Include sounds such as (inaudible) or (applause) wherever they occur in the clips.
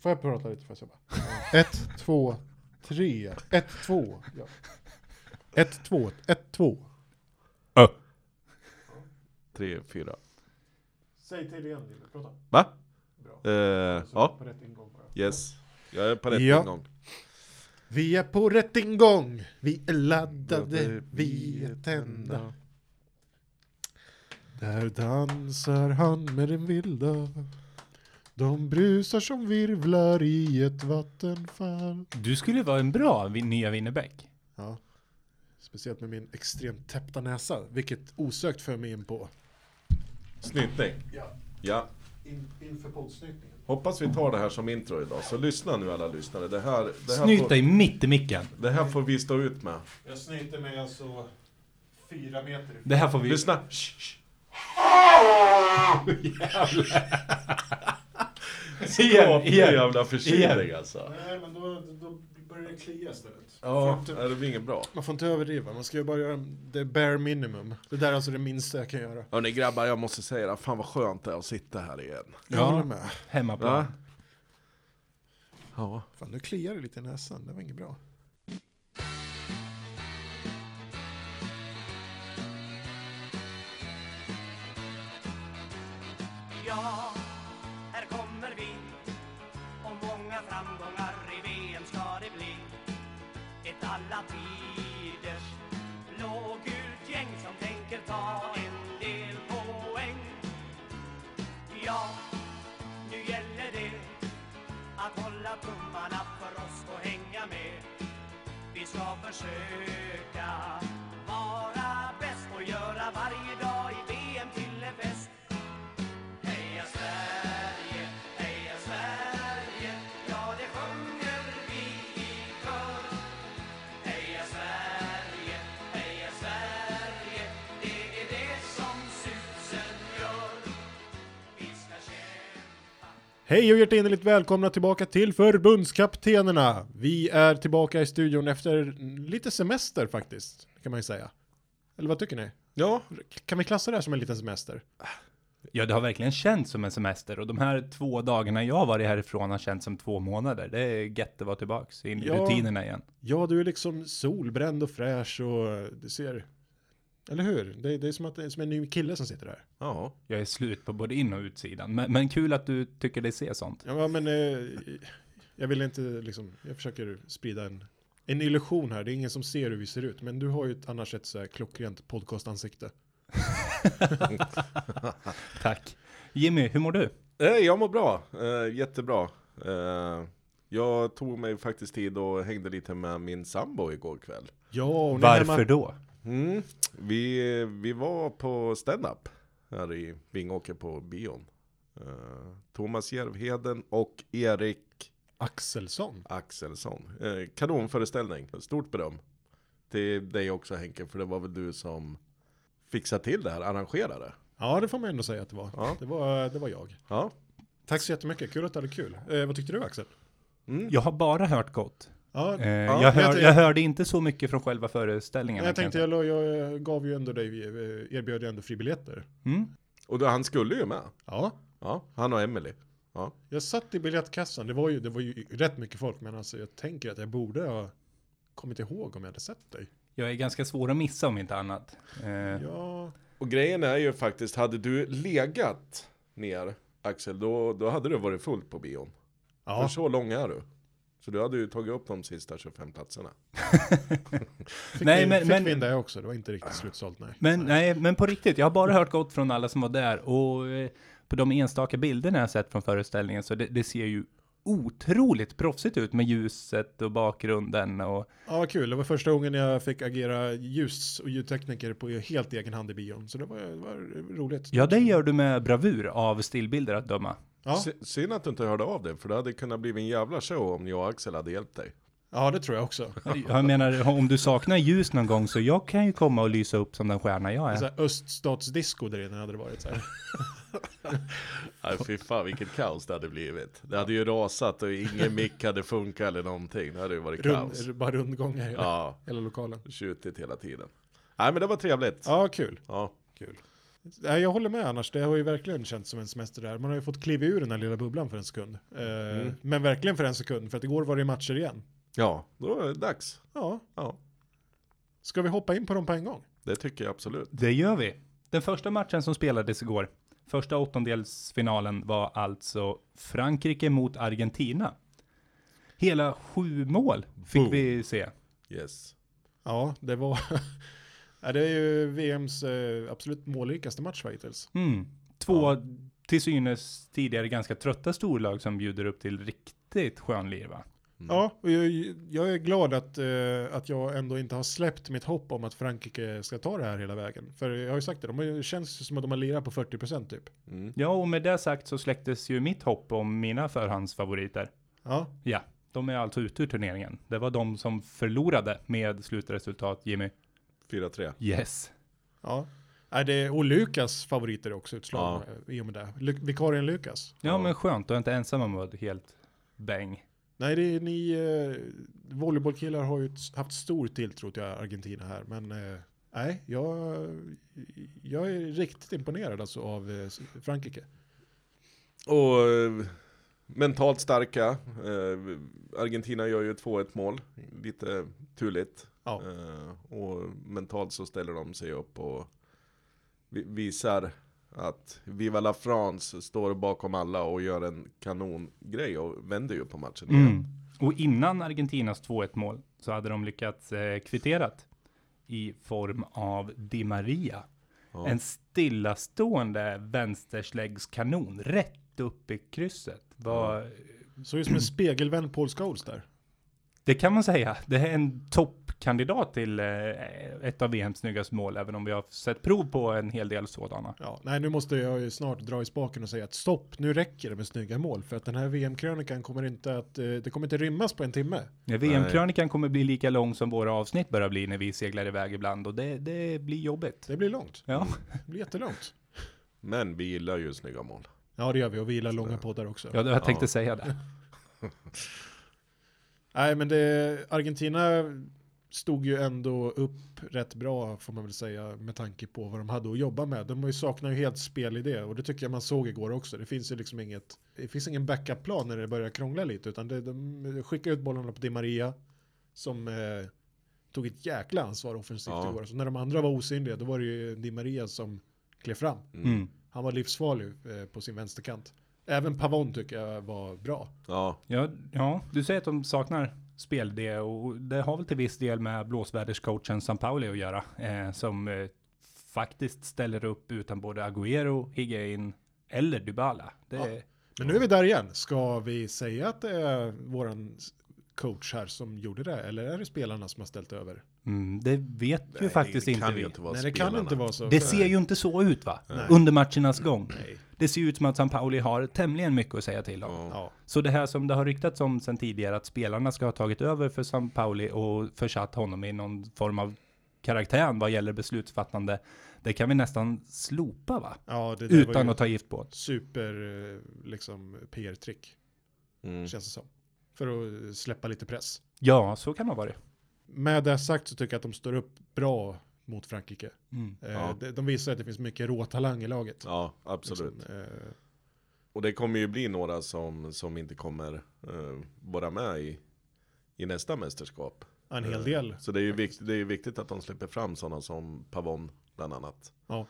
Får jag prata lite? Får jag säga bara? (laughs) Ett, Två, tre. Ett, två. Ja. ett, två, ett, två. Ö. Tre, fyra. Säg till igen, Lille. Prata. Va? Bra. Eh, Så ja, På rätt ingång bara. yes. Jag är på rätt Ja. ingång. Vi är på rätt ingång. Vi är laddade, vi är tända. Där dansar han med den vilda De brusar som virvlar i ett vattenfall Du skulle vara en bra vin- nya Winnerbäck. Ja. Speciellt med min extremt täppta näsa, vilket osökt för mig in på. Snyting. Ja. Ja. In, inför poddsnyttningen. Hoppas vi tar det här som intro idag, så lyssna nu alla lyssnare. Det här, det här, Snyt får, dig mitt (laughs) i micken. det här får vi stå ut med. Jag snyter mig alltså fyra meter ifrån. Det här får vi... Lyssna! Shh, shh. igen, Skaplig igen. jävla förkylning alltså. Nej, men då, då börjar det klia istället. Ja, För att- är det blir inget bra. Man får inte överdriva, man ska ju bara göra det bare minimum. Det där är alltså det minsta jag kan göra. Hörni grabbar, jag måste säga det. Fan vad skönt det är att sitta här igen. Jag Ja. håller med. Hemmaplan. Ja. Ja. Fan, nu kliar det lite i näsan, det var inget bra. Ja, här kommer vi Och många framgångar i VM ska det bli Ett alla tiders blågult gäng som tänker ta en del poäng Ja, nu gäller det att hålla tummarna för oss och hänga med vi ska försöka vara bäst och göra varje dag i VM till en fest Heja Sverige, heja Sverige, ja det sjunger vi i kör. Heja Sverige, heja Sverige, det är det som susen gör. Vi ska kämpa. Hej och hjärtinnerligt välkomna tillbaka till Förbundskaptenerna! Vi är tillbaka i studion efter lite semester faktiskt, kan man ju säga. Eller vad tycker ni? ja, Kan vi klassa det här som en liten semester? Ja, det har verkligen känts som en semester och de här två dagarna jag har varit härifrån har känts som två månader. Det är gött att vara tillbaks in i Ja. rutinerna igen. Ja, du är liksom solbränd och fräsch och du ser... Eller hur? Det, det är som att det är som en ny kille som sitter där. ja. Jag är slut på både in och utsidan, men, men kul att du tycker dig se sånt. Ja, men eh, jag vill inte liksom... Jag försöker sprida en, en illusion här. Det är ingen som ser hur vi ser ut, men du har ju ett, annars ett så här klockrent podcastansikte. Tack. Jimmy, hur mår du? Eh, Jag mår bra, eh, jättebra. Eh, jag tog mig faktiskt tid och hängde lite med min sambo igår kväll. Ja, och ni är Varför hemma- då? Mm. Vi, vi var på stand-up här i Vingåker på bion. Eh, Thomas Järvheden och Erik Axelsson. Axelsson. Eh, kanonföreställning, stort beröm. Till dig också Henke, för det var väl du som fixade till det här, arrangerade. Ja, det får man ändå säga att det var. Ja. Det, var det var jag. Ja, Tack så jättemycket, kul att du hade kul. Eh, vad tyckte du Axel? Jag har bara hört gott. Mm. Ja, Eh, ja, jag, jag hör, tänkte- jag hörde inte så mycket från själva föreställningen. jag tänkte, jag, la- jag eh, gav ju ändå dig, eh, erbjöd ju ändå fribiljetter. Mm? och då, han skulle ju med. Ja, Ja, han och Emelie. Ja. jag satt i biljettkassan, det var ju, det var ju rätt mycket folk, men alltså jag tänker att jag borde ha kommit ihåg om jag hade sett dig. Jag är ganska svår att missa om inte annat. Eh, Ja, Och grejen är ju faktiskt, hade du legat ner Axel, då, då hade du varit fullt på bion. För ja. så lång är du. Så du hade ju tagit upp de sista 25 platserna. Fick, Nej, vi, men- fick men- vi in det också, det var inte riktigt slutsålt nej. Men nej, men på riktigt, jag har bara hört gott från alla som var där och eh, på de enstaka bilderna jag sett från föreställningen så det, det ser ju otroligt proffsigt ut med ljuset och bakgrunden och Ja, vad kul, det var första gången jag fick agera ljus och ljudtekniker på helt egen hand i bion, så det var, det var roligt. ja, det gör du med bravur av stillbilder att döma. Ja. Sy- Synd att du inte hörde av dig, för det hade kunnat bli en jävla show om jag och Axel hade hjälpt dig. ja, det tror jag också. Jag menar, om du saknar ljus någon gång så jag kan ju komma och lysa upp som den stjärna jag Så är. här Alltså, öststatsdisco där inne hade det varit så (laughs) här. Nej fy fan vilket kaos det hade blivit. Det hade ju rasat och ingen mick hade funkat eller någonting. Det hade ju varit kaos. Rund, bara rundgångar i hela, Ja, hela lokalen. tjutit hela tiden. Nej men det var trevligt. Ja, kul. Ja. kul. Nej, jag håller med annars. Det har ju verkligen känts som en semester där. Man har ju fått kliva ur den här lilla bubblan för en sekund. Eh, Men verkligen för en sekund, för att igår var det ju matcher igen. Ja, då är det dags. Ja, Ja, ska vi hoppa in på dem på en gång? det tycker jag absolut. Det gör vi. Den första matchen som spelades igår, första åttondelsfinalen var alltså Frankrike mot Argentina. Hela sju mål fick Boom. vi se. Yes. Ja, det var... (laughs) Ja, det är ju VMs eh, absolut målrikaste match va, hittills. Mm. Två till synes tidigare ganska trötta storlag som bjuder upp till riktigt skönlir va? Ja, och jag, jag är glad att, eh, att jag ändå inte har släppt mitt hopp om att Frankrike ska ta det här hela vägen. För jag har ju sagt det, de har, ju- det känns ju som att de har lirat på 40% typ. Ja, och med det sagt så släcktes ju mitt hopp om mina förhandsfavoriter. Ja, Ja, de är alltså ute ur turneringen. Det var de som förlorade med slutresultat, Jimmy. 4-3. Yes. ja. Nej, det är, och Lukas favoriter är också utslagna eh, i och med det. Lu- Vikarien Lukas. Ja, men skönt. Du är inte ensam om att vara helt bäng. Nej, det är ni eh, volleybollkillar har ju t- haft stor tilltro till Argentina här, men eh, nej, jag, jag är riktigt imponerad alltså av eh, Frankrike. Och eh, mentalt starka. Eh, Argentina gör ju 2-1 mål. Lite turligt. Ja. Eh, och mentalt så ställer de sig upp och vi- visar att Viva la France står bakom alla och gör en kanongrej och vänder ju på matchen igen. Mm. Och innan Argentinas 2-1 mål så hade de lyckats eh, kvitterat i form av Di Maria. Ja. En stillastående vänstersläggskanon rätt upp i krysset. Var, Så det är som en spegelvänd Paul Scholes där. Det kan man säga. Det här är en toppkandidat till eh, ett av VMs snyggaste mål, även om vi har sett prov på en hel del sådana. Eh, Ja, nej, nu måste jag ju snart dra i spaken och säga att stopp, nu räcker det med snygga mål, för att den här VM-krönikan kommer inte att, eh, det kommer inte rymmas på en timme. Ja, VM-krönikan kommer bli lika lång som våra avsnitt börjar bli när vi seglar iväg ibland och det, det blir jobbigt. Det blir långt, Ja. det blir jättelångt. Men vi gillar ju snygga mål. Ja, det gör vi, och vi gillar långa poddar också. ja, jag tänkte säga det. Nej, men det, Argentina stod ju ändå upp rätt bra får man väl säga med tanke på vad de hade att jobba med. De har ju saknar ju helt spelidé och det tycker jag man såg igår också. Det finns ju liksom inget, det finns ingen backup-plan när det börjar krångla lite utan det, de skickar ut bollarna på Di Maria som eh, tog ett jäkla ansvar offensivt Ja. igår. Så när de andra var osynliga då var det ju Di Maria som klev fram. Mm. Han var livsfarlig eh, på sin vänsterkant. Även Pavon tycker jag var bra. Ja, Ja, ja, du säger att de saknar spelidé och det har väl till viss del med blåsväderscoachen Sampaoli att göra, eh, som eh, faktiskt ställer upp utan både Agüero, Higuain eller Dybala. Det, Ja. Men nu är vi där igen. Ska vi säga att det är våran coach här som gjorde det? Eller är det spelarna som har ställt över? mm, det vet ju Nej, faktiskt det inte kan vi. ju inte vara Nej, det spelarna. kan inte vara så. Det ser ju inte så ut va? Under matchernas gång. Det ser ju ut som att Sampaoli har tämligen mycket att säga till om. Ja. Så det här som det har ryktats om sedan tidigare, att spelarna ska ha tagit över för Sampaoli och försatt honom i någon form av karaktär vad gäller beslutsfattande, det kan vi nästan slopa va? ja, det där var Utan ju att ta gift på oss. super eh, liksom, PR-trick. Mm. Känns det som. För att släppa lite press. Ja, så kan det vara det. Med det sagt så tycker jag att de står upp bra mot Frankrike. Mm. Eh, Ja. de- De visar att det finns mycket råtalang i laget. ja absolut. Liksom, eh, Och det kommer ju bli några som, som inte kommer eh, vara med i, i nästa mästerskap. en Eh, hel del. Så det är ju vikt, det är ju viktigt att de släpper fram sådana som Pavon bland annat. Ja.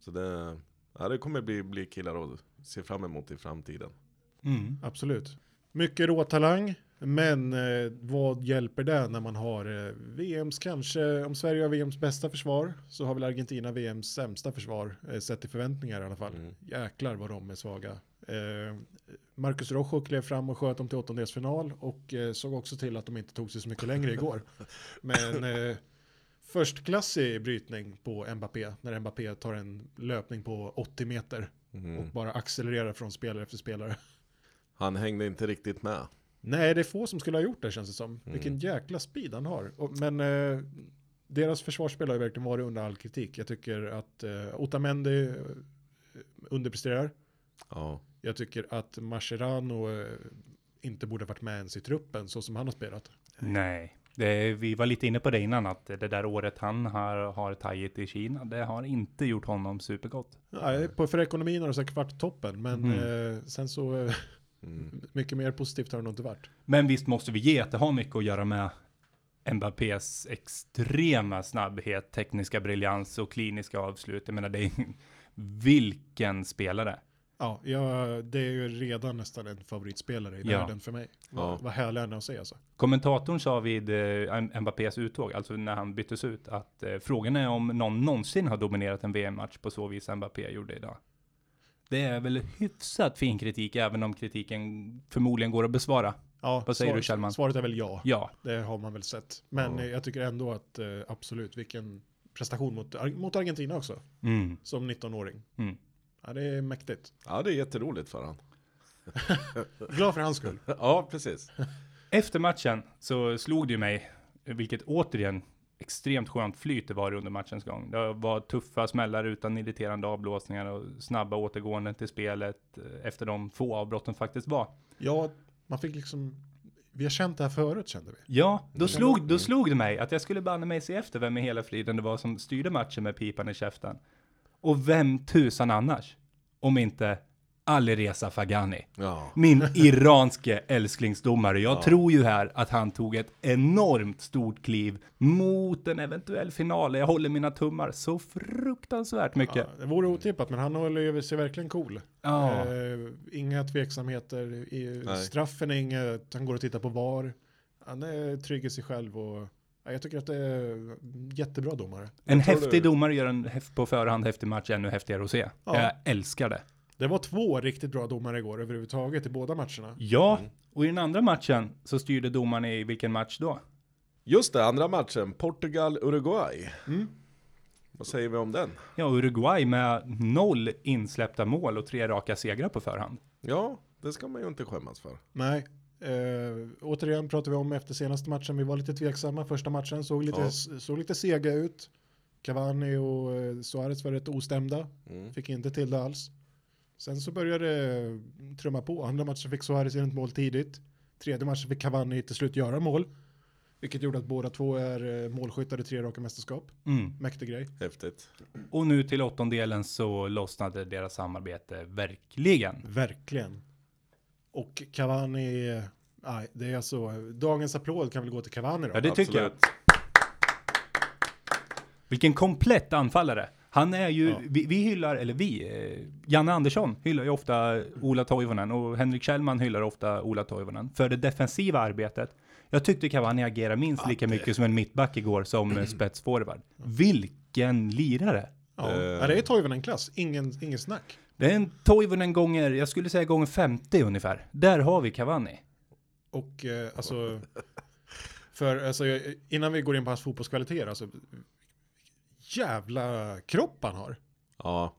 Så det, ja, det kommer bli, bli killar att se fram emot i framtiden. Mm. Absolut. Mycket råtalang, men eh, vad hjälper det när man har eh, VMs kanske, om Sverige har VMs bästa försvar så har väl Argentina VMs sämsta försvar, eh, sett i förväntningar i alla fall. Jäklar vad de är svaga. Eh, Marcus Rojo klev fram och sköt dem till åttondelsfinal och eh, såg också till att de inte tog sig så mycket längre igår. Men eh, förstklassig brytning på Mbappé, när Mbappé tar en löpning på 80 meter och bara accelererar från spelare efter spelare. Han hängde inte riktigt med. Nej, det är få som skulle ha gjort det känns det som. Mm. Vilken jäkla speed han har. Och, men eh, deras försvarsspel har ju verkligen varit under all kritik. Jag tycker att eh, Otamendi eh, underpresterar. Ja, Jag tycker att Mascherano eh, inte borde ha varit med ens i truppen så som han har spelat. Nej. Det, vi var lite inne på det innan, att det där året han har, har tagit i Kina, det har inte gjort honom supergott. Nej, Mm. på, för ekonomin har det säkert varit toppen, men eh, sen så eh, Mm. (laughs) mycket mer positivt har det nog inte varit. Men visst måste vi ge att det har mycket att göra med Mbappés extrema snabbhet, tekniska briljans och kliniska avslut. Jag menar, det är vilken spelare. Ja, jag, det är ju redan nästan en favoritspelare i Ja. världen för mig. Ja. Vad härlig han är att se alltså. Kommentatorn sa vid eh, M- Mbappés uttåg, alltså när han byttes ut, att eh, frågan är om någon någonsin har dominerat en VM-match på så vis Mbappé gjorde idag. Det är väl hyfsat fin kritik, även om kritiken förmodligen går att besvara. Ja, Vad säger du, Kjellman? Svaret är väl ja. Ja, Det har man väl sett. Men eh, jag tycker ändå att eh, absolut, vilken prestation mot, Ar- mot Argentina också. mm. Som 19-åring. Mm. Ja, det är mäktigt. Ja, det är jätteroligt för han. (laughs) Glad för hans skull. Ja, precis. Efter matchen så slog det ju mig, vilket återigen extremt skönt flyt det var under matchens gång. Det var tuffa smällar utan irriterande avblåsningar och snabba återgåenden till spelet eh, efter de få avbrotten faktiskt var. Ja, man fick liksom, vi har känt det här förut kände vi. Ja, då slog, då slog det mig att jag skulle banne mig se efter vem i hela friden det var som styrde matchen med pipan i käften. Och vem tusan annars? Om inte Alireza Fagani. Ja. Min iranske älsklingsdomare. Jag tror ju här att han tog ett enormt stort kliv mot en eventuell final. Jag håller mina tummar så fruktansvärt mycket. Ja, det vore otippat, men han håller ju sig verkligen cool. Ja. Eh, inga tveksamheter, i, Nej. straffen är inget, han går och tittar på VAR. Han är trygg i sig själv och ja, jag tycker att det är jättebra domare. en tror häftig du- domare gör en häf- på förhand häftig match ännu häftigare att se. Ja. Jag älskar det. Det var två riktigt bra domare igår överhuvudtaget i båda matcherna. Ja, och i den andra matchen så styrde domaren i vilken match då? Just det, andra matchen. Portugal-Uruguay. Mm. Vad säger vi om den? Ja, Uruguay med noll insläppta mål och tre raka segrar på förhand. Ja, det ska man ju inte skämmas för. Nej, eh, återigen pratar vi om efter senaste matchen, vi var lite tveksamma. Första matchen såg lite, Ja. såg lite sega ut. Cavani och eh, Suarez var rätt ostämda, fick inte till det alls. Sen så började det trumma på. Andra matchen fick Suarez in ett mål tidigt. Tredje matchen fick Cavani till slut göra mål. Vilket gjorde att båda två är eh, målskyttar i tre raka mästerskap. Mm. Mäktig grej. Häftigt. Och nu till åttondelen så lossnade deras samarbete verkligen. Verkligen. Och Cavani, eh, nej, det är alltså, dagens applåd kan väl gå till Cavani då? Ja, det tycker jag. Absolut. Vilken komplett anfallare. Han är ju, vi, vi hyllar, eller vi, eh, Janne Andersson hyllar ju ofta Ola Toivonen och Henrik Kjellman hyllar ofta Ola Toivonen för det defensiva arbetet. Jag tyckte Cavani agerade minst lika mycket som en mittback igår som eh, spetsforward. Vilken lirare! Ja, ja det är Toivonen-klass, ingen, ingen snack. Det är en Toivonen gånger, jag skulle säga gånger 50 ungefär. Där har vi Cavani. Och eh, alltså, för, alltså, jag- innan vi går in på hans fotbollskvaliteter, alltså, jävla kropp han har. Ja.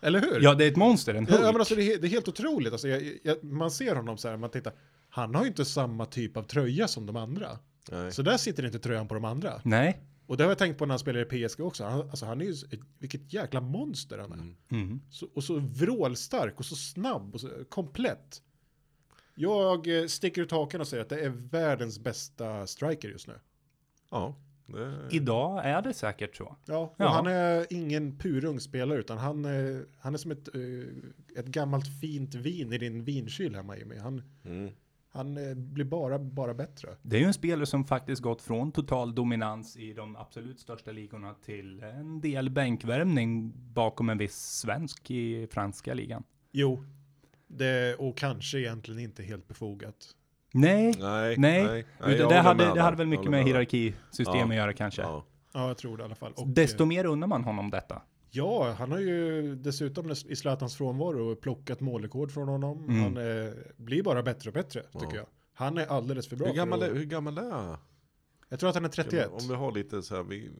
Eller hur? Ja, det är ett monster, en Ja, men Hulk. alltså, det, är, he- det är helt otroligt, alltså, jag, jag, man ser honom så här, man tittar, han har ju inte samma typ av tröja som de andra. Nej. Så där sitter inte tröjan på de andra. Nej. Och det har jag tänkt på när han spelar i PSG också. Han, alltså han är ju, s- ett- vilket jäkla monster han är. Mm. Så, och så vrålstark och så snabb och så komplett. Jag eh, sticker ut haken och säger att det är världens bästa striker just nu. Ja. Det... Idag är det säkert så. Ja, och Ja. han är ingen purung spelare utan han, eh, han är som ett, eh, ett gammalt fint vin i din vinkyl hemma Jimmy. Han, han eh, blir bara, bara bättre. Det är ju en spelare som faktiskt gått från total dominans i de absolut största ligorna till en del bänkvärmning bakom en viss svensk i franska ligan. Jo, det, och kanske egentligen inte helt befogat. Nej, Nej, nej. nej. Nej, jag Utan det, håller hade, med det där. hade väl Jag mycket håller med med där. hierarkisystem Ja. att göra kanske. Ja. Ja, jag tror det i alla fall. Och, Desto mer unnar man honom detta. Ja, han har ju dessutom i Zlatans frånvaro plockat målrekord från honom. Mm. Han eh, blir bara bättre och bättre, tycker jag. Han är alldeles för bra. Hur gammal, för är, att, hur gammal är han? jag tror att han är 31. Om vi har lite så här, vi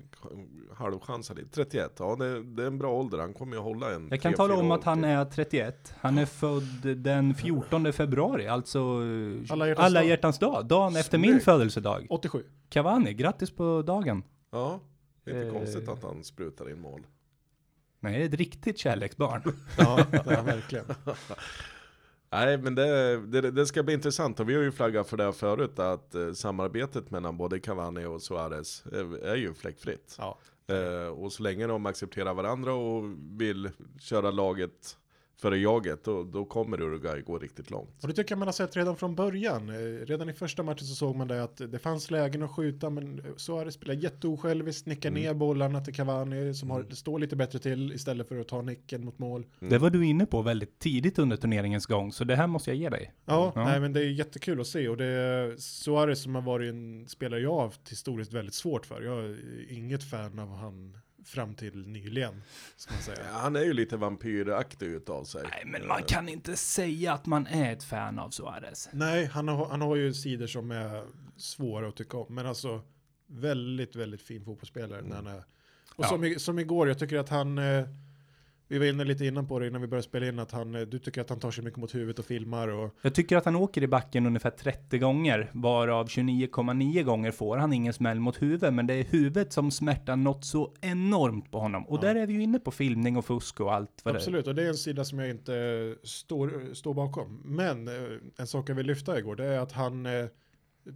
halvchansar lite. 31, ja det, det är en bra ålder. Han kommer ju hålla en Jag kan tre, tala fyra om år att han till. är 31. Han är född den 14 februari, alltså eh, Alla hjärtans alla dag. hjärtans dag, dagen efter min Snyggt. födelsedag. 87. Cavani, grattis på dagen. Ja, det är inte Eh. konstigt att han sprutar in mål. Nej, det är ett riktigt kärleksbarn. (laughs) Ja, det är han verkligen. Nej, men det, det, det ska bli intressant och vi har ju flaggat för det här förut att eh, samarbetet mellan både Cavani och Suarez är, är ju fläckfritt. Ja. Eh, och så länge de accepterar varandra och vill köra laget före jaget, då, då kommer Uruguay gå riktigt långt. Och det tycker jag man har sett redan från början. Eh, Redan i första matchen så såg man det att det fanns lägen att skjuta men Suarez spelar jätteosjälviskt, nickar Mm. ner bollarna till Cavani som har, står lite bättre till istället för att ta nicken mot mål. Det var du inne på väldigt tidigt under turneringens gång, så det här måste jag ge dig. Ja, Ja. nej men det är jättekul att se och det är Suarez som har varit en spelare jag har haft historiskt väldigt svårt för. Jag är inget fan av han fram till nyligen, ska man säga. Ja, Han är ju lite vampyraktig utav sig. Nej, men man kan inte säga att man är ett fan av Suarez. Nej, han har, han har ju sidor som är svåra att tycka om, men alltså väldigt, väldigt fin fotbollsspelare när han är. Och Ja. som, i- som igår, jag tycker att han, eh, vi var inne lite innan på det innan vi började spela in, att han, eh, du tycker att han tar sig mycket mot huvudet och filmar och Jag tycker att han åker i backen ungefär 30 gånger, varav 29,9 gånger får han ingen smäll mot huvudet, men det är huvudet som smärtar något så enormt på honom. Och där är vi ju inne på filmning och fusk och allt vad det är. Absolut, och det är en sida som jag inte står, står bakom. Men eh, en sak jag vill lyfta igår, det är att han, eh,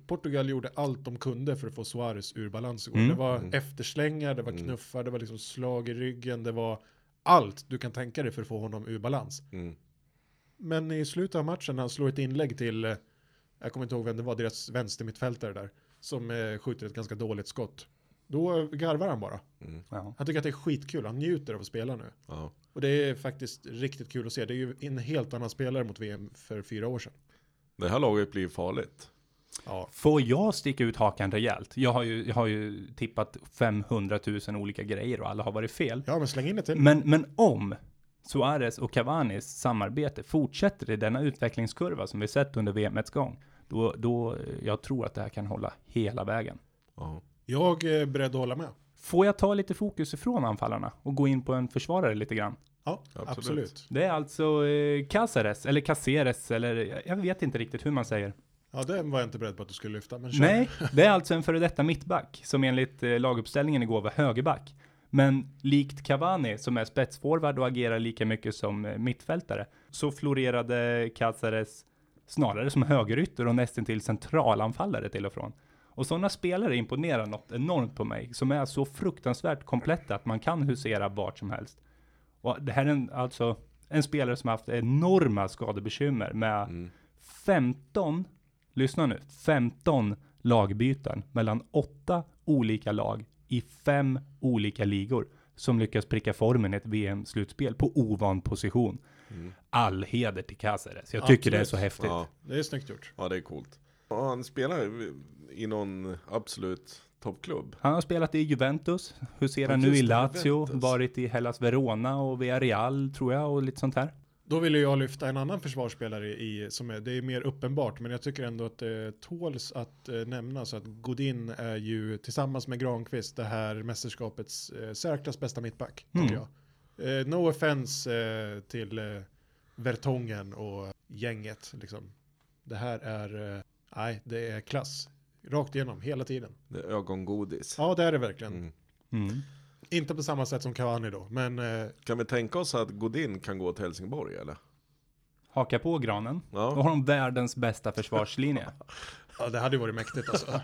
Portugal gjorde allt de kunde för att få Suarez ur balans igår. Mm. Det var efterslängar, det var knuffar, det var liksom slag i ryggen, det var allt du kan tänka dig för att få honom ur balans. Mm. Men i slutet av matchen, han slår ett inlägg till, eh, jag kommer inte ihåg vem det var, deras vänstermittfältare där, som eh, skjuter ett ganska dåligt skott. Då garvar han bara. Ja. Han tycker att det är skitkul, han njuter av att spela nu. Ja. Och det är faktiskt riktigt kul att se. Det är ju en helt annan spelare mot VM för fyra år sedan. Det här laget blir farligt. Ja, Får jag sticka ut hakan rejält? Jag har ju, jag har ju tippat 500 000 olika grejer och alla har varit fel. ja men släng in det till. Men, men om Suarez och Cavanis samarbete fortsätter i denna utvecklingskurva som vi sett under VMets gång, då, då eh, jag tror att det här kan hålla hela vägen. Ja. Jag är beredd att hålla med. Får jag ta lite fokus ifrån anfallarna och gå in på en försvarare lite grann? Ja, Absolut. absolut. Det är alltså eh, Caceres, eller Caceres, eller jag- jag vet inte riktigt hur man säger. Ja, den var jag inte beredd på att du skulle lyfta. Men kör. Nej, det är alltså en före detta mittback som enligt eh, laguppställningen igår var högerback. Men likt Cavani som är spetsforward och agerar lika mycket som eh, mittfältare så florerade Cazares snarare som högerytter och nästintill centralanfallare till och från. Och sådana spelare imponerar något enormt på mig som är så fruktansvärt kompletta att man kan husera vart som helst. Och det här är en, alltså en spelare som haft enorma skadebekymmer med Mm. 15, lyssna nu, 15 lagbyten mellan åtta olika lag i fem olika ligor som lyckas pricka formen i ett VM-slutspel på ovan position. All heder till Caceres. Jag tycker det är så Typ. häftigt. Mm. Ja. Det är snyggt gjort. ja, det är coolt. Och han spelar ju i någon absolut toppklubb. Han har spelat i Juventus, huserar Ja, nu just i det, Lazio, Juventus. varit i Hellas Verona och Villarreal tror jag och lite sånt här. Då ville jag lyfta en annan försvarsspelare i, som är, det är mer uppenbart, men jag tycker ändå att det tåls att eh, nämna så att Godin är ju tillsammans med Granqvist det här mästerskapets eh, särklass bästa mittback, tycker Mm. jag. Eh, no offense eh, till eh, Vertongen och gänget, liksom. Det här är, eh, nej, det är klass. Rakt igenom, hela tiden. Det är ögongodis. Ja, det är det verkligen. Mm. Mm. Inte på samma sätt som Cavani då, men eh, Kan vi tänka oss att Godin kan gå till Helsingborg eller? Haka på granen. Ja. Då har de världens bästa försvarslinje. ja, det hade ju varit mäktigt alltså.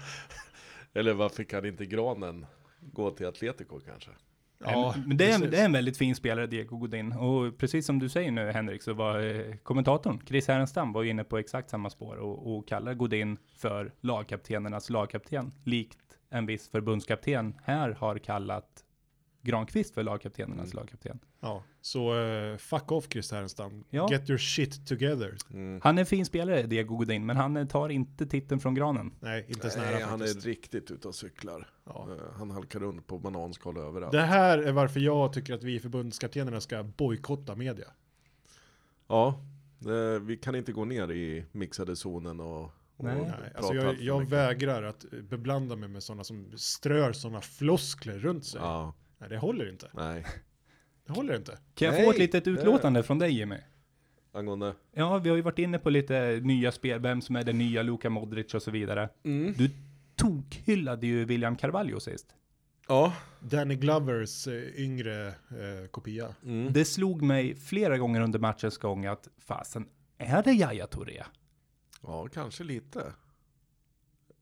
Eller varför kan inte Granen gå till Atletico kanske? (laughs) Ja, Ja, men det är, en, precis. det är en väldigt fin spelare, Diego Godin. Och precis som du säger nu, Henrik, så var eh, kommentatorn Chris Härenstam var ju inne på exakt samma spår och, och kallar Godin för lagkaptenernas lagkapten, likt en viss förbundskapten här har kallat Granqvist för lagkaptenernas lagkapten. Ja, så eh, fuck off Chris Härenstam. Ja. Get your shit together. Han är en fin spelare, Diego Godin, men han eh, tar inte titeln från granen. Nej, inte ens Nej, nära han är faktiskt. riktigt ute och cyklar. Ja. Eh, Han halkar runt på bananskal överallt. Det här är varför jag tycker att vi förbundskaptenerna ska bojkotta Mm. media. Ja, eh, vi kan inte gå ner i mixade zonen och, och Nej. prata Nej, alltså allt jag, för jag mycket. vägrar att eh, beblanda mig med sådana som strör sådana floskler runt sig. Ja, Nej, det håller inte. nej. Det håller inte. Kan jag Nej, få ett litet det- utlåtande från dig, Jimmy? Angående... Ja, vi har ju varit inne på lite nya spel, vem som är den nya Luka Modric och så vidare. Du tokhyllade ju William Carvalho sist. Ja, Danny Glovers eh, yngre eh, kopia. Mm. Det slog mig flera gånger under matchens gång att fasen, Är det Yahya Touré? Ja, kanske lite.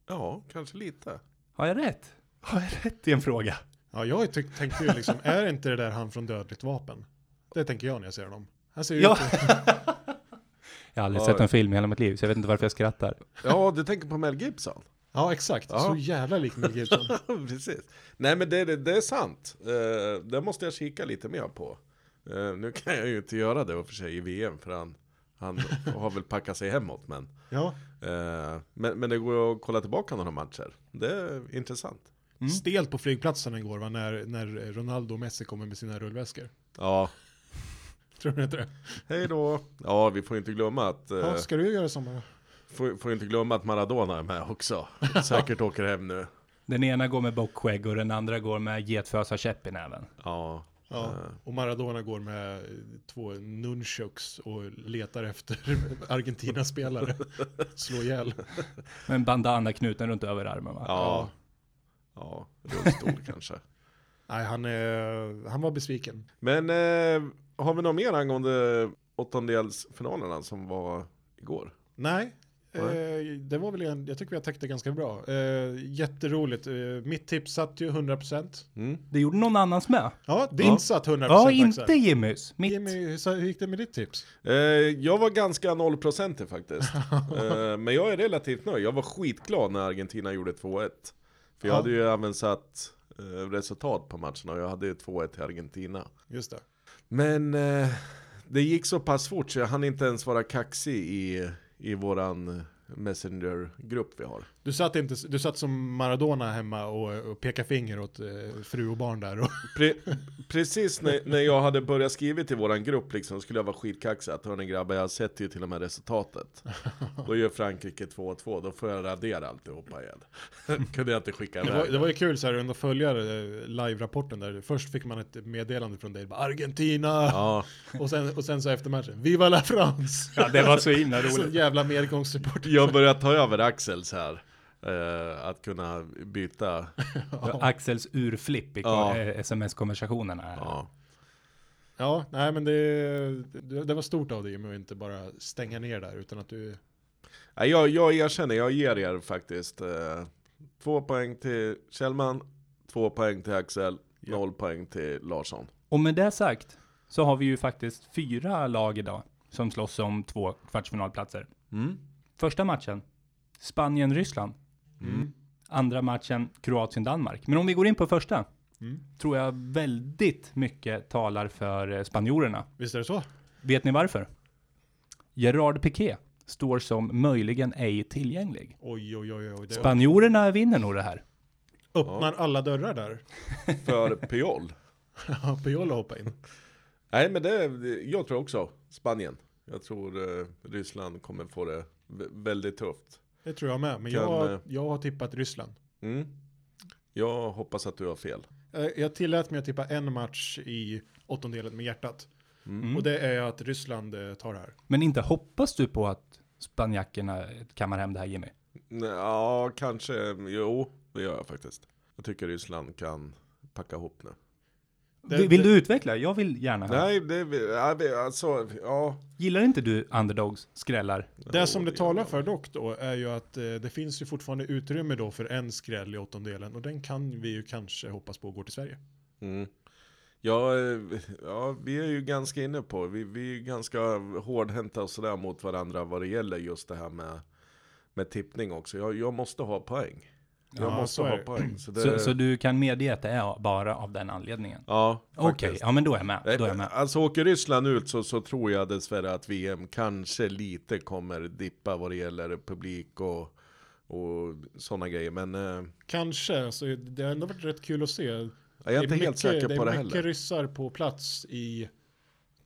Ja, kanske lite. Har jag rätt? Har jag rätt i en fråga? Ja, jag tyck- tänkte ju liksom, är inte det där han från Dödligt Vapen? Det tänker jag när jag ser honom. Han ser ju Ja. ut (laughs) som- Jag har aldrig Ja. sett en film i hela mitt liv, så jag vet inte varför jag skrattar. Ja, du tänker på Mel Gibson? Ja, exakt. Ja. Så jävla lik Mel Gibson. (laughs) Precis. Nej men det, det, det är sant. Eh, det måste jag kika lite mer på. Eh, nu kan jag ju inte göra det och för sig i VM för han, (laughs) han har väl packat sig hemåt. Men, Ja. eh, men, men det går att kolla tillbaka några matcher. Det är intressant. Mm. Stelt på flygplatsen igår va, när, när Ronaldo och Messi kommer med sina rullväskor. (laughs) Ja, Tror ni inte det? hej då. Ja, vi får inte glömma att, eh, Ja, ska du göra samma? får, får inte glömma att Maradona är med (laughs) också. Säkert åker hem nu. Den ena går med bockskägg och den andra går med getfösarkäpp i näven. Ja, Ja. Eh. Och Maradona går med eh, två nunchucks och letar efter (laughs) Argentinas (laughs) spelare. Slå ihjäl. Med en bandana knuten runt överarmen va? ja, ja, rullstol (laughs) kanske. Nej, han, eh, han var besviken. Men eh, har vi något mer angående åttondelsfinalerna som var igår? Nej, Nej. eh, det var väl en, jag tycker vi har täckt det ganska bra. Eh, jätteroligt. Eh, mitt tips satt ju 100%. Det gjorde någon annans med. Ja, din Ja. satt 100% Ja, Axel. inte Jimmys. Mitt. Jimmy, hur sa- hur gick det med ditt tips? Eh, jag var ganska nollprocentig faktiskt. eh, men jag är relativt nöjd. Jag var skitglad när Argentina gjorde 2-1. För jag Ja. hade ju även satt eh, resultat på matcherna och jag hade ju 2-1 till Argentina. Just det. Men eh, det gick så pass fort så jag hann inte ens vara kaxig i, i våran eh, messengergrupp vi har. Du satt, inte, du satt som Maradona hemma och, och pekade finger åt eh, fru och barn där. Och, Pre precis när, när jag hade börjat skriva till våran grupp liksom, skulle jag vara skitkaxig att hörni grabbar, jag sätter ju till och med (laughs) resultatet. Då gör Frankrike 2-2, då får jag radera alltihopa (laughs) igen. Kunde jag inte (laughs) skicka det, var, iväg. det var ju kul så här ändå att följa eh, live-rapporten där. Först fick man ett meddelande från dig, bara, Argentina! Ja, (laughs) Och, sen, och sen så efter matchen, Viva la (laughs) France! Ja, det var så himla Så roligt. jävla medgångsreporter. jag börjar ta över Axels här. Eh, att kunna byta. Axels urflipp i Ja. eh, sms-konversationerna. här. Ja. Ja, nej men det, det, det var stort av dig Jimmy att inte bara stänga ner där utan att du... Nej, Jag, jag erkänner, jag ger er faktiskt. Eh, två poäng till Kjellman, två poäng till Axel, noll poäng till Larsson. Och med det sagt så har vi ju faktiskt fyra lag idag som slåss om två kvartsfinalplatser. Mm. Första matchen, Spanien-Ryssland. Mm. Andra matchen, Kroatien-Danmark. Men om vi går in på första, tror jag väldigt mycket talar för eh, spanjorerna. Visst är det så? Vet ni varför? Gerard Piqué står som möjligen ej tillgänglig. Oj, oj, oj, oj. Det Spanjorerna vinner nog det här. öppnar alla dörrar där. (laughs) För Piol. Ja, Piola hoppa in. Nej men det, jag tror också Spanien. Jag tror eh, Ryssland kommer få det vä- väldigt tufft. Det tror jag med, men Kan, eh, jag, jag har tippat Ryssland. Mm. Jag hoppas att du har fel. Eh, Jag tillät mig att tippa en match i åttondelen med hjärtat. Mm. Och det är att Ryssland eh, tar det här. Men inte hoppas du på att spanjackerna kammar hem det här Jimmy? Nej, Ja, kanske. Jo, det gör jag faktiskt. Jag tycker Ryssland kan packa ihop nu. Det- vill vill det- du utveckla? Jag vill gärna höra. Nej, det, ja, vi- alltså, ja. Gillar inte du underdogs, skrällar? Det som det gör talar jag. för dock då är ju att eh, det finns ju fortfarande utrymme då för en skräll i åttondelen och den kan vi ju kanske hoppas på går till Sverige. Mm. Ja, eh, ja, vi är ju ganska inne på, vi, vi är ju ganska hårdhänta och sådär mot varandra vad det gäller just det här med, med tippning också. Jag, jag måste ha poäng. Jag Ja, måste så är ha det. poäng. Så det, Så, så du kan medge att det är bara av den anledningen? Ja, Okej, faktiskt. ja men då är jag med. Då är jag med. Alltså åker Ryssland ut så, så tror jag dessvärre att VM kanske lite kommer dippa vad det gäller publik och, och sådana grejer. Men eh, Kanske, så det har ändå varit rätt kul att se. Jag jag är inte helt säker på det Det är mycket heller. ryssar på plats i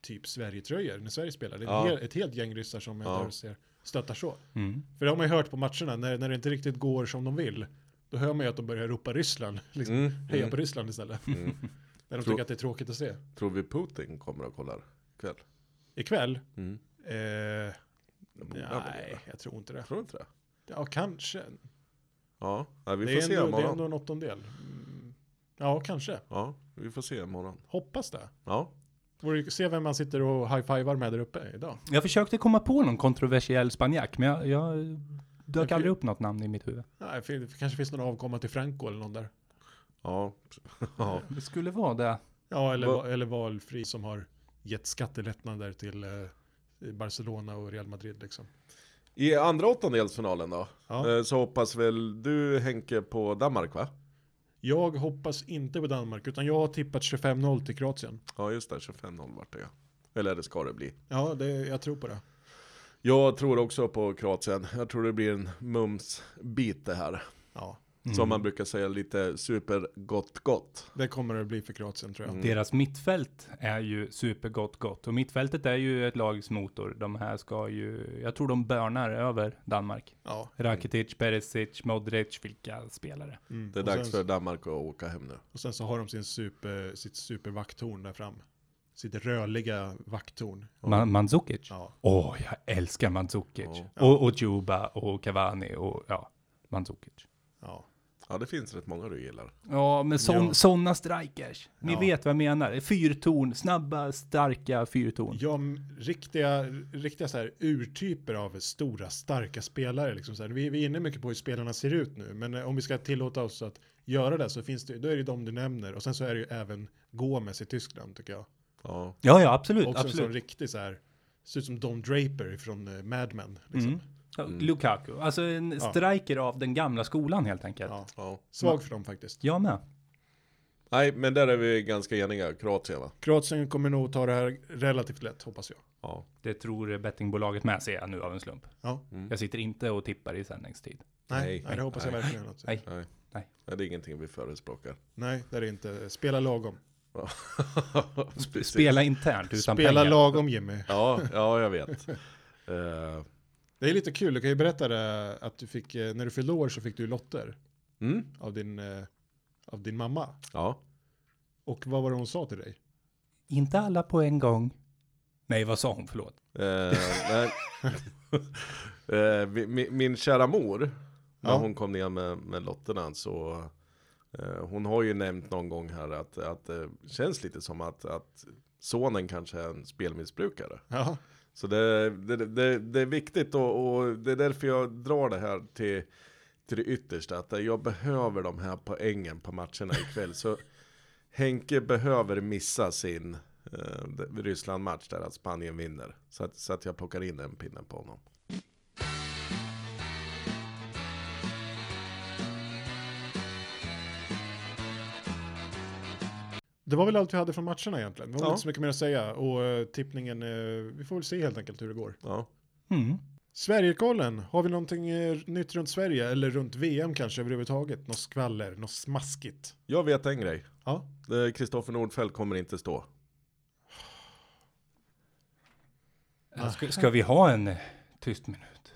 typ Sverigetröjor när Sverige spelar. Det är Ja. ett, helt, ett helt gäng ryssar som jag Ja. där ser stöttar så. Mm. För det har man ju hört på matcherna, när, när det inte riktigt går som de vill, då hör man ju att de börjar ropa Ryssland, (laughs) liksom, Mm, heja mm. på Ryssland istället. (laughs) när de Tror- tycker att det är tråkigt att se. Tror vi Putin kommer och kollar ikväll? Ikväll, Mm. eh, Det borde han väl nej, göra. jag tror inte det. Tror du inte det? Ja, kanske. Ja, ja vi det, får är se ändå, det är imorgon. ändå en åttondel. Mm. Ja, kanske. Ja, vi får se imorgon. Hoppas det. Ja, Vore ju- Se vem man sitter och high-fivar med där uppe idag. Jag försökte komma på någon kontroversiell spanjack, men jag, jag dök Jag- aldrig upp något namn i mitt huvud. Nej, fin- det kanske finns någon avkomma till Franco eller någon där. Ja, ja. Det skulle vara det. Ja, eller, Va- va- eller valfri som har gett skattelättnader till eh, Barcelona och Real Madrid liksom. I andra åttondelsfinalen då, Ja. eh, så hoppas väl du Henke på Danmark va? Jag hoppas inte på Danmark, utan jag har tippat 25-0 till Kroatien. Ja just det, 25-0 vart det ja. Eller det ska det bli. Ja, det, jag tror på det. Jag tror också på Kroatien. Jag tror det blir en mumsbit det här. Ja, Som man brukar säga lite supergott gott. det kommer det bli för Kroatien Mm. tror jag. Deras mittfält är ju supergott gott och mittfältet är ju ett lags motor. De här ska ju, jag tror de börnar över Danmark. Ja. Rakitic, Perisic, Modric, vilka spelare. Mm. Det är och sen, dags för Danmark att åka hem nu. Och sen så har de sin super, sitt supervakttorn där fram. Sitt rörliga vakttorn. Ma- Mandzukic. Åh, Ja. jag älskar Mandzukic. Och, och Juba och Cavani och ja, Mandzukic. Ja. Ja det finns rätt många du gillar. Ja, men sån, Ja. såna strikers. Ni Ja. vet vad jag menar. Fyrtorn, snabba, starka fyrtorn. Ja, m- riktiga, riktiga så här urtyper av stora, starka spelare. Liksom så här. Vi, vi är inne mycket på hur spelarna ser ut nu, men eh, om vi ska tillåta oss att göra det så finns det, då är det de du nämner. Och sen så är det ju även Gomes i Tyskland tycker jag. Ja. Ja, ja, absolut, Också en sån Eh, absolut. riktig så här, ser ut som Don Draper från eh, Mad Men. Liksom. Ja, Lukaku, alltså en striker av den gamla skolan helt enkelt. Ja. ja. Svag för dem faktiskt. Jag med. Nej men där är vi ganska eniga, Kroatien va? Kroatien kommer nog ta det här relativt lätt, hoppas jag. Ja. Det tror bettingbolaget med, ser jag nu av en slump. Ja, Jag sitter inte och tippar i sändningstid. nej, Nej, nej, det hoppas jag verkligen. Att, Nej. Nej. Nej. Nej, det är ingenting vi förespråkar. nej, det är det inte. Spela lagom. Ja. (laughs) Spela internt utan Spela pengar. lagom Jimmy. Ja, ja jag vet. Eh, Det är lite kul, du kan ju berätta det att du fick, eh, när du fyllde år så fick du lotter mm, av din, eh, av din mamma. ja. Och vad var det hon sa till dig? Inte alla på en gång. Nej, vad sa hon? Förlåt. Eh, nej. (laughs) Eh, vi- mi- min kära mor, när Ja. hon kom ner med, med lotterna så eh, hon har ju nämnt någon gång här att, att det känns lite som att, att sonen kanske är en spelmissbrukare. Ja, Så det, det, det, det är viktigt och, och det är därför jag drar det här till, till det yttersta. Att jag behöver de här poängen på matcherna ikväll. Så Henke behöver missa sin eh, det- Ryssland-match där att Spanien vinner. Så att, så att jag plockar in den pinnen på honom. det var väl allt vi hade från matcherna egentligen. Det var Ja. väl inte så mycket mer att säga. Och eh, tippningen, eh, vi får väl se helt enkelt hur det går. Ja. Mm. Sverigekollen, har vi någonting eh, nytt runt Sverige? Eller runt VM kanske överhuvudtaget? Något skvaller, något smaskigt? Jag vet en grej. Ja, Eh, Kristoffer Nordfeldt kommer inte stå. Ska, ska vi ha en eh, tyst minut?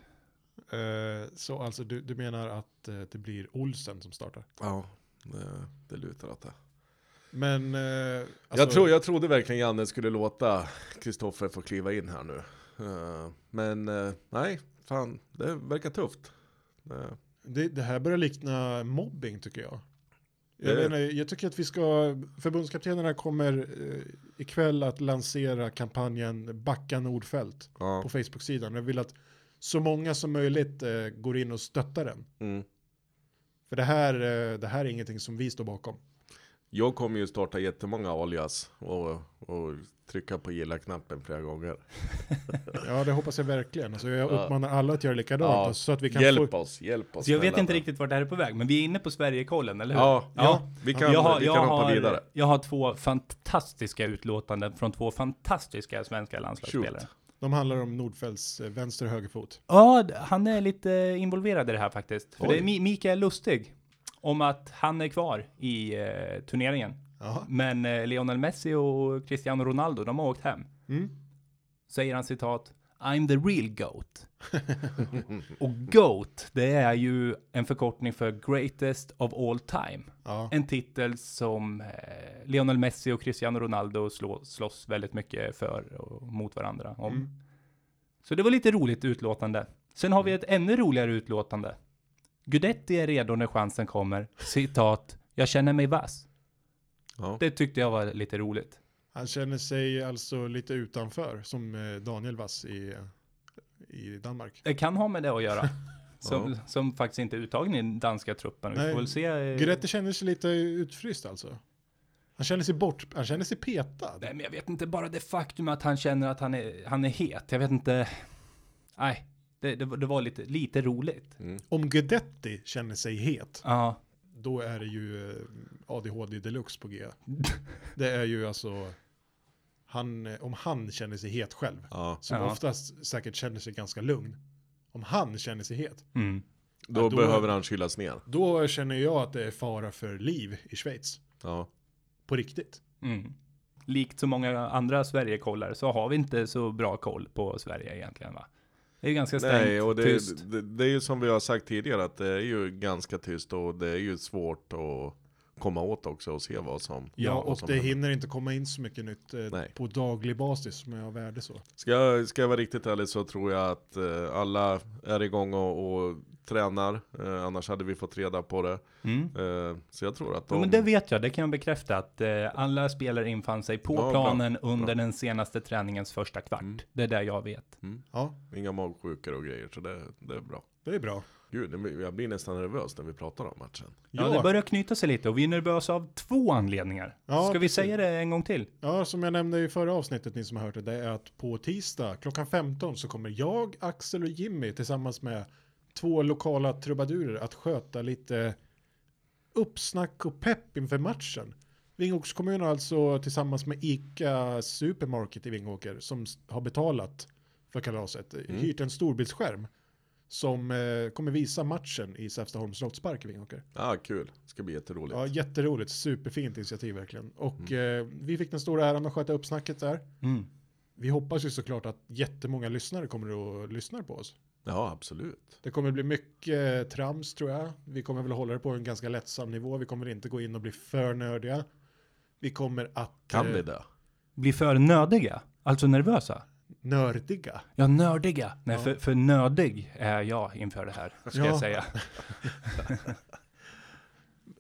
eh, så alltså du, du menar att eh, det blir Olsen som startar? Ja, det, det lutar åt det. Men... Eh, alltså, Jag, tror, jag trodde verkligen Janne skulle låta Kristoffer få kliva in här nu. Eh, Men eh, nej, fan, det verkar tufft. Eh, Det, det här börjar likna mobbing tycker jag. Jag, Det- vet inte, jag tycker att vi ska, förbundskaptenerna kommer eh, ikväll att lansera kampanjen Backa Nordfält Ja. på Facebook-sidan. Jag vill att så många som möjligt eh, går in och stöttar den. Mm. För det här, eh, det här är ingenting som vi står bakom. Jag kommer ju starta jättemånga alias och, och trycka på gilla-knappen flera gånger. Ja, det hoppas jag verkligen. Alltså, jag uppmanar alla att göra likadant. Ja. alltså, Så att vi kan hjälp få... oss, hjälp oss. Så jag vet snälla. inte riktigt vart det här är på väg, men vi är inne på Sverigekollen, eller hur? Ja, ja. vi kan, jag har, vi jag kan hoppa har, vidare. Jag har två fantastiska utlåtanden från två fantastiska svenska landslagsspelare. Shoot. De handlar om Nordfeldts eh, vänster och högerfot. Ja, d- han är lite involverad i det här faktiskt. För Oj. det är Mi- Mikael Lustig om att han är kvar i eh, turneringen. Jaha. Men eh, Lionel Messi och Cristiano Ronaldo, de har åkt hem. Mm. Säger han citat, I'm the real GOAT. (laughs) och GOAT, det är ju en förkortning för Greatest of All Time. Ja. En titel som eh, Lionel Messi och Cristiano Ronaldo slå, slåss väldigt mycket för och mot varandra om. Så det var lite roligt utlåtande. Sen har vi ett ännu roligare utlåtande. Gudetti är redo när chansen kommer. Citat, jag känner mig vass. Ja. Det tyckte jag var lite roligt. Han känner sig alltså lite utanför, som eh, Daniel Wass i, i Danmark. Det kan ha med det att göra. Som, som faktiskt inte är uttagen i den danska truppen. Vi Nej, får väl se. eh, Guidetti känner sig lite utfryst alltså. Han känner sig bort, han känner sig petad. Nej, men jag vet inte, bara det faktum att han känner att han är, han är het. Jag vet inte. Nej, det, det, var- det var lite, lite roligt. Mm. Om Guidetti känner sig het, Ja, då är det ju eh, ADHD deluxe på G. (laughs) Det är ju alltså, han, eh, om han känner sig het själv, Ja, som Ja. oftast säkert känner sig ganska lugn. Om han känner sig het, mm. då, Ja, då- behöver han kylas ner. då känner jag att det är fara för liv i Schweiz. Ja. På riktigt. Mm. Likt så många andra Sverigekollare så har vi inte så bra koll på Sverige egentligen va? Det är ju ganska stängt, Nej, och det, tyst. det, det är ju som vi har sagt tidigare att det är ju ganska tyst och det är ju svårt att komma åt också och se vad som Ja, vad och som det händer. hinner inte komma in så mycket nytt eh, Nej. på daglig basis som är av värde så. Ska jag, ska jag vara riktigt ärlig så tror jag att eh, alla är igång och, och tränar. Eh, annars hade vi fått reda på det. Mm. Eh, så jag tror att de... Ja, men det vet jag, det kan jag bekräfta att eh, alla spelare infann sig på Ja, bra, Mm. planen under den senaste träningens första kvart. Det är det jag vet. Ja, Inga magsjukor och grejer, så det, det är bra. det är bra. Gud, det blir- jag blir nästan nervös när vi pratar om matchen. Ja, det börjar knyta sig lite och vi är nervösa av två anledningar. Ja, Ska vi precis. säga det en gång till? Ja, som jag nämnde i förra avsnittet, ni som har hört det, det är att på tisdag klockan 15 så kommer jag, Axel och Jimmy tillsammans med två lokala trubadurer att sköta lite uppsnack och pepp inför matchen. Vingåkers kommun har alltså tillsammans med ICA Supermarket i Vingåker som s- har betalat för kalaset hyrt en storbildsskärm som eh, kommer visa matchen i Säfstaholms slottspark i Vingåker. Ja, ah, kul. Det ska bli jätteroligt. Ja, jätteroligt. Superfint initiativ verkligen. Och Mm. eh, vi fick den stora äran att sköta upp snacket där. Mm. Vi hoppas ju såklart att jättemånga lyssnare kommer att lyssna på oss. Ja, absolut. Det kommer bli mycket eh, trams tror jag. Vi kommer väl hålla det på en ganska lättsam nivå. Vi kommer inte gå in och bli för nördiga. Vi kommer att... Kan eh, vi det? Bli för nödiga, alltså nervösa. Nördiga. Ja, nördiga. Nej, för, för nödig är jag inför det här, ska Ja. jag säga.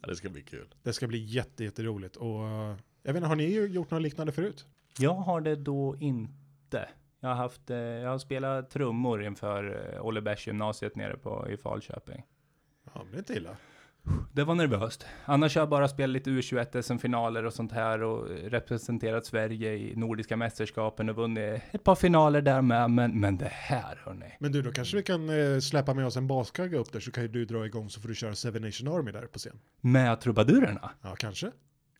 Ja, det ska bli kul. Det ska bli jätte, jätteroligt. Och eh, jag vet inte, har ni ju gjort något liknande förut? Jag har det då inte. Jag har, haft, eh, jag har spelat trummor inför eh, Olle Bärs gymnasiet nere på, i Falköping. Ja, men det är inte illa. Det var nervöst. Annars har jag bara spelat lite U21 SM-finaler och sånt här och eh, representerat Sverige i Nordiska mästerskapen och vunnit ett par finaler där med. Men, men det här hörni. Men du, då kanske vi kan eh, släppa med oss en baskagga upp där så kan ju du dra igång så får du köra Seven Nation Army där på scen. Med trubadurerna. Ja, kanske.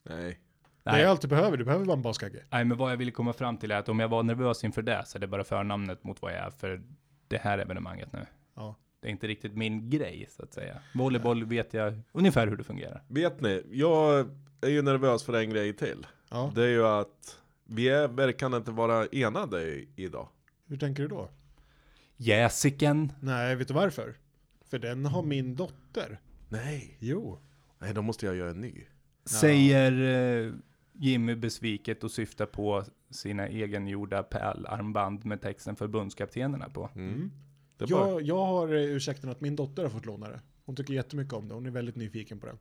Nej. Det Nej. är allt du behöver, du behöver bara en baskagge. Nej, men vad jag ville komma fram till är att om jag var nervös inför det så är det bara förnamnet mot vad jag är för det här evenemanget nu. Ja. Det är inte riktigt min grej så att säga. Volleyboll vet jag ungefär hur det fungerar. Vet ni, jag är ju nervös för en grej till. Ja. Det är ju att vi är, verkar inte vara enade i, idag. Hur tänker du då? Jäsiken. Nej, vet du varför? För den har min dotter. Nej. Jo. Nej, då måste jag göra en ny. Säger eh, Jimmy besviket och syftar på sina egengjorda pärlarmband med texten förbundskaptenerna på. Det är bara, Jag, jag har eh, ursäkten att min dotter har fått låna det. Hon tycker jättemycket om det, hon är väldigt nyfiken på den.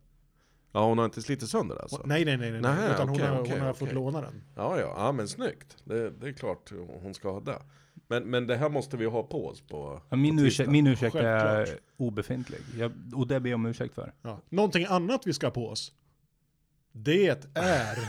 ja, hon har inte slitit sönder alltså? Nej, nej, nej, nej. nej Nej, utan okej, hon har, okej, hon har okej. fått låna den. Ja, ja, ja men snyggt. Det, det är klart hon ska ha det. Men, men det här måste vi ha på oss på... Ja, min, på ursäkt, tisdag. min ursäkt är Självklart. obefintlig. Jag, och det ber jag om ursäkt för. Ja. Någonting annat vi ska ha på oss. Det (laughs) är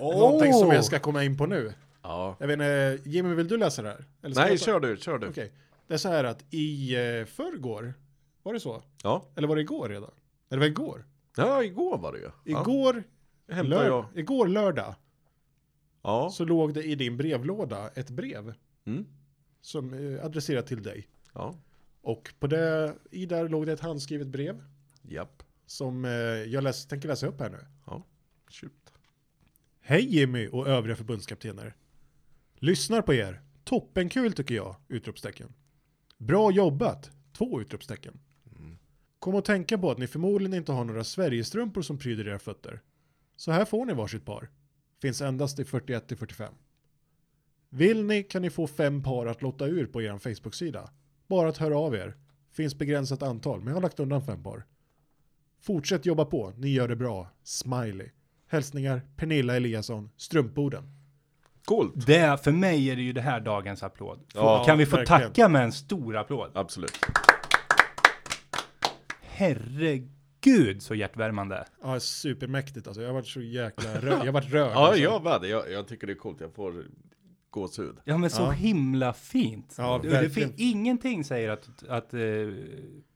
någonting som jag ska komma in på nu. Ja. Jag vet inte, Jimmy vill du läsa det här? Eller ska jag Nej, ta- kör du, kör du. Okej. Det är så här att i eh, förrgår, var det så? Ja. Eller var det igår redan? Eller var det igår? ja, igår var det ju. Igår, ja. hämtade jag. lör, igår lördag Ja. så låg det i din brevlåda ett brev Mm. som eh, adresserat till dig. ja. Och på det, i där låg det ett handskrivet brev Japp. som eh, jag läs, tänker läsa upp här nu. Ja. Shoot. Hej Jimmy och övriga förbundskaptener. Lyssnar på er. Toppenkul tycker jag! Utropstecken. Bra jobbat! Två utropstecken. Kom att tänka på att ni förmodligen inte har några Sverigestrumpor som pryder era fötter. Så här får ni varsitt par. Finns endast i 41 till 45. Vill ni kan ni få fem par att lotta ur på er Facebook-sida. Bara att höra av er. Finns begränsat antal, men jag har lagt undan fem par. Fortsätt jobba på, ni gör det bra. Smiley. Hälsningar Pernilla Eliasson, Strumpboden. Coolt! Det, för mig är det ju det här dagens applåd. Ja, kan vi få verkligen. tacka med en stor applåd? Absolut. Herregud så hjärtvärmande. Ja, supermäktigt alltså. Jag har varit så jäkla rörd. Jag har varit rörd. Ja, alltså. jag vad, jag, jag tycker det är coolt. Jag får gåshud. Ja men så Ja. himla fint. Ja, det, det verkligen. finns ingenting säger att, att eh,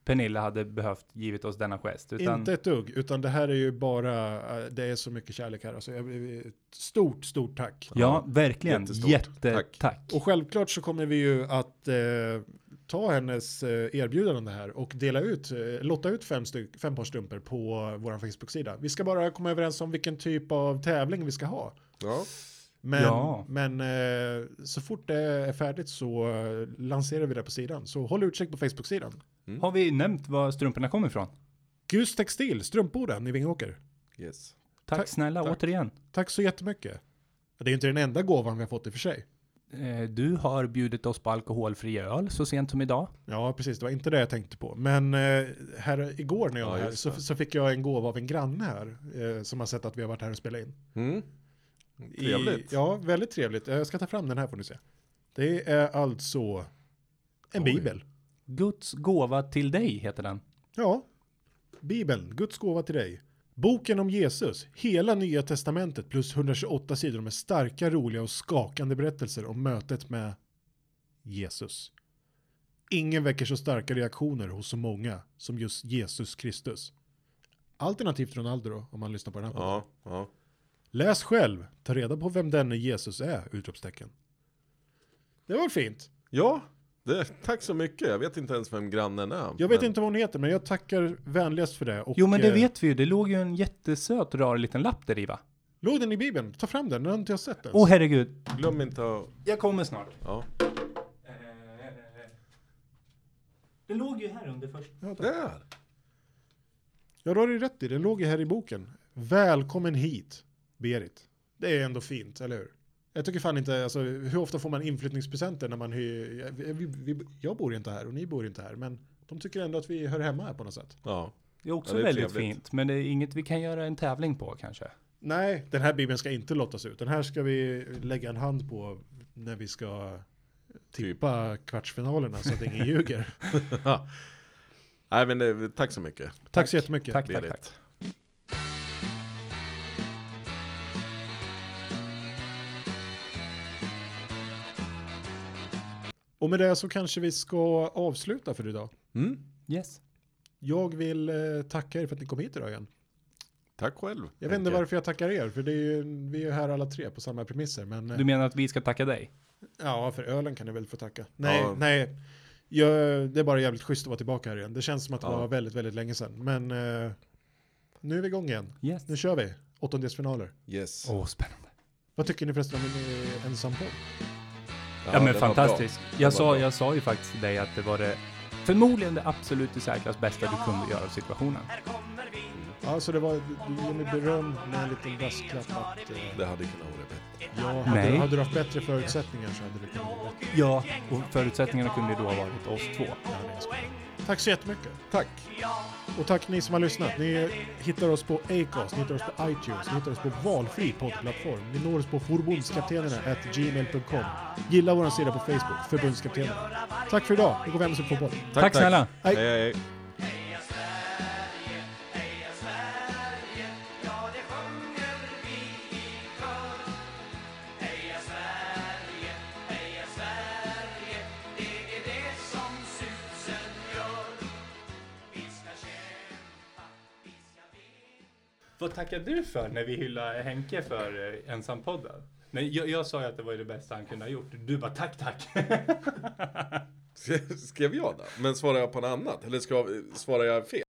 Pernilla hade behövt givit oss denna gest. Utan, Inte ett dugg, utan det här är ju bara, eh, det är så mycket kärlek här. Alltså, jag, ett stort, stort tack. Ja, verkligen. Jättestort. Jättetack. Och självklart så kommer vi ju att eh, ta hennes eh, erbjudande här och dela ut, eh, lotta ut fem, styck, fem par strumpor på vår Facebook-sida. Vi ska bara komma överens om vilken typ av tävling vi ska ha. Ja. Men, Ja. men eh, så fort det är färdigt så eh, lanserar vi det på sidan. Så håll utkik på Facebook-sidan. Har vi nämnt var strumporna kommer ifrån? Gus Textil, strumpboden i Vingåker. Yes. Tack, Tack, snälla tack. återigen. Tack så jättemycket. Det är ju inte den enda gåvan vi har fått i och för sig. Eh, Du har bjudit oss på alkoholfri öl så sent som idag. Ja, precis. Det var inte det jag tänkte på. Men eh, här igår när jag Ja, var här just så, det. så fick jag en gåva av en granne här eh, som har sett att vi har varit här och spelat in. Mm. I- Trevligt. Ja, väldigt trevligt. Eh, Jag ska ta fram den här får ni se. Det är alltså en Oj. bibel. Guds gåva till dig heter den. Ja, bibeln, Guds gåva till dig. Boken om Jesus, hela nya testamentet plus 128 sidor med starka, roliga och skakande berättelser om mötet med Jesus. Ingen väcker så starka reaktioner hos så många som just Jesus Kristus. Alternativt Ronaldo då, om man lyssnar på den här podden. Ja, ja. Läs själv, ta reda på vem denne Jesus är! Utropstecken. Det var fint. ja det, tack så mycket. Jag vet inte ens vem grannen är. Jag vet men- inte vad hon heter, men jag tackar vänligast för det. Och, Jo men det eh, vet vi ju, det låg ju en jättesöt rar liten lapp där i va? Låg den i Bibeln? Ta fram den, den har inte jag sett ens. Åh herregud. Glöm inte att... Jag kommer snart. Ja. Det låg ju här under först. Ja, tack. Där! ja, då har du rätt i. Den låg ju här i boken. Välkommen hit, Berit. Det är ändå fint, eller hur? Jag tycker fan inte, alltså, hur ofta får man inflyttningspresenter när man hyr? jag- Vi, vi, jag bor ju inte här och ni bor ju inte här, men de tycker ändå att vi hör hemma här på något sätt. Ja. (laughs) Det är också Ja, det är väldigt trevligt. fint, men det är inget vi kan göra en tävling på kanske. Nej, den här bibeln ska inte lottas ut. Den här ska vi lägga en hand på när vi ska tippa kvartsfinalerna så att (laughs) ingen ljuger. Nej men det, tack så mycket. Tack så jättemycket. Tack, tack, Berit. tack. Och med det så kanske vi ska avsluta för idag. Mm. Yes. Jag vill eh, tacka er för att ni kom hit idag igen. Tack själv. Jag vet inte Henke. varför jag tackar er, för det är ju, vi är ju här alla tre på samma premisser. Men, eh, Du menar att vi ska tacka dig? Ja, för ölen kan ni väl få tacka. Nej, Ja. nej. Jag, det är bara jävligt schysst att vara tillbaka här igen. Det känns som att det Ja. var väldigt, väldigt länge sedan. Men eh, nu är vi igång igen. Yes. Nu kör vi. Åttondelsfinaler. Yes. Åh, spännande. Vad tycker ni förresten om min eh, ensampodd? Ja, den men var bra. fantastiskt. var Jag sa, bra. jag sa ju faktiskt till dig att det var det förmodligen det absolut i särklass bästa du kunde göra av situationen. Här kommer vi Ja, så det var, du ger mig beröm med en liten brasklapp att eh, Det hade kunnat vara bättre. ja, hade, Nej. hade du haft bättre förutsättningar så hade det kunnat vara bättre. Ja, och förutsättningarna kunde ju då ha varit oss två. Tack så jättemycket. Tack. Och tack ni som har lyssnat. Ni hittar oss på Acast, ni hittar oss på iTunes, ni hittar oss på valfri poddplattform. Ni når oss på forbundskaptenerna.gmail.com. Gilla vår sida på Facebook, Förbundskaptenerna. Tack för idag, nu går vi hem och ser på fotboll. Tack, snälla. Hej. Hej, hej, (laughs) hej. Vad tackar du för när vi hyllar Henke för eh, ensampodden? Nej, jag, jag sa ju att det var ju det bästa han kunde ha gjort. Du bara tack, tack. Skrev jag då? Men svarar jag på något annat? Eller ska, svarar jag fel?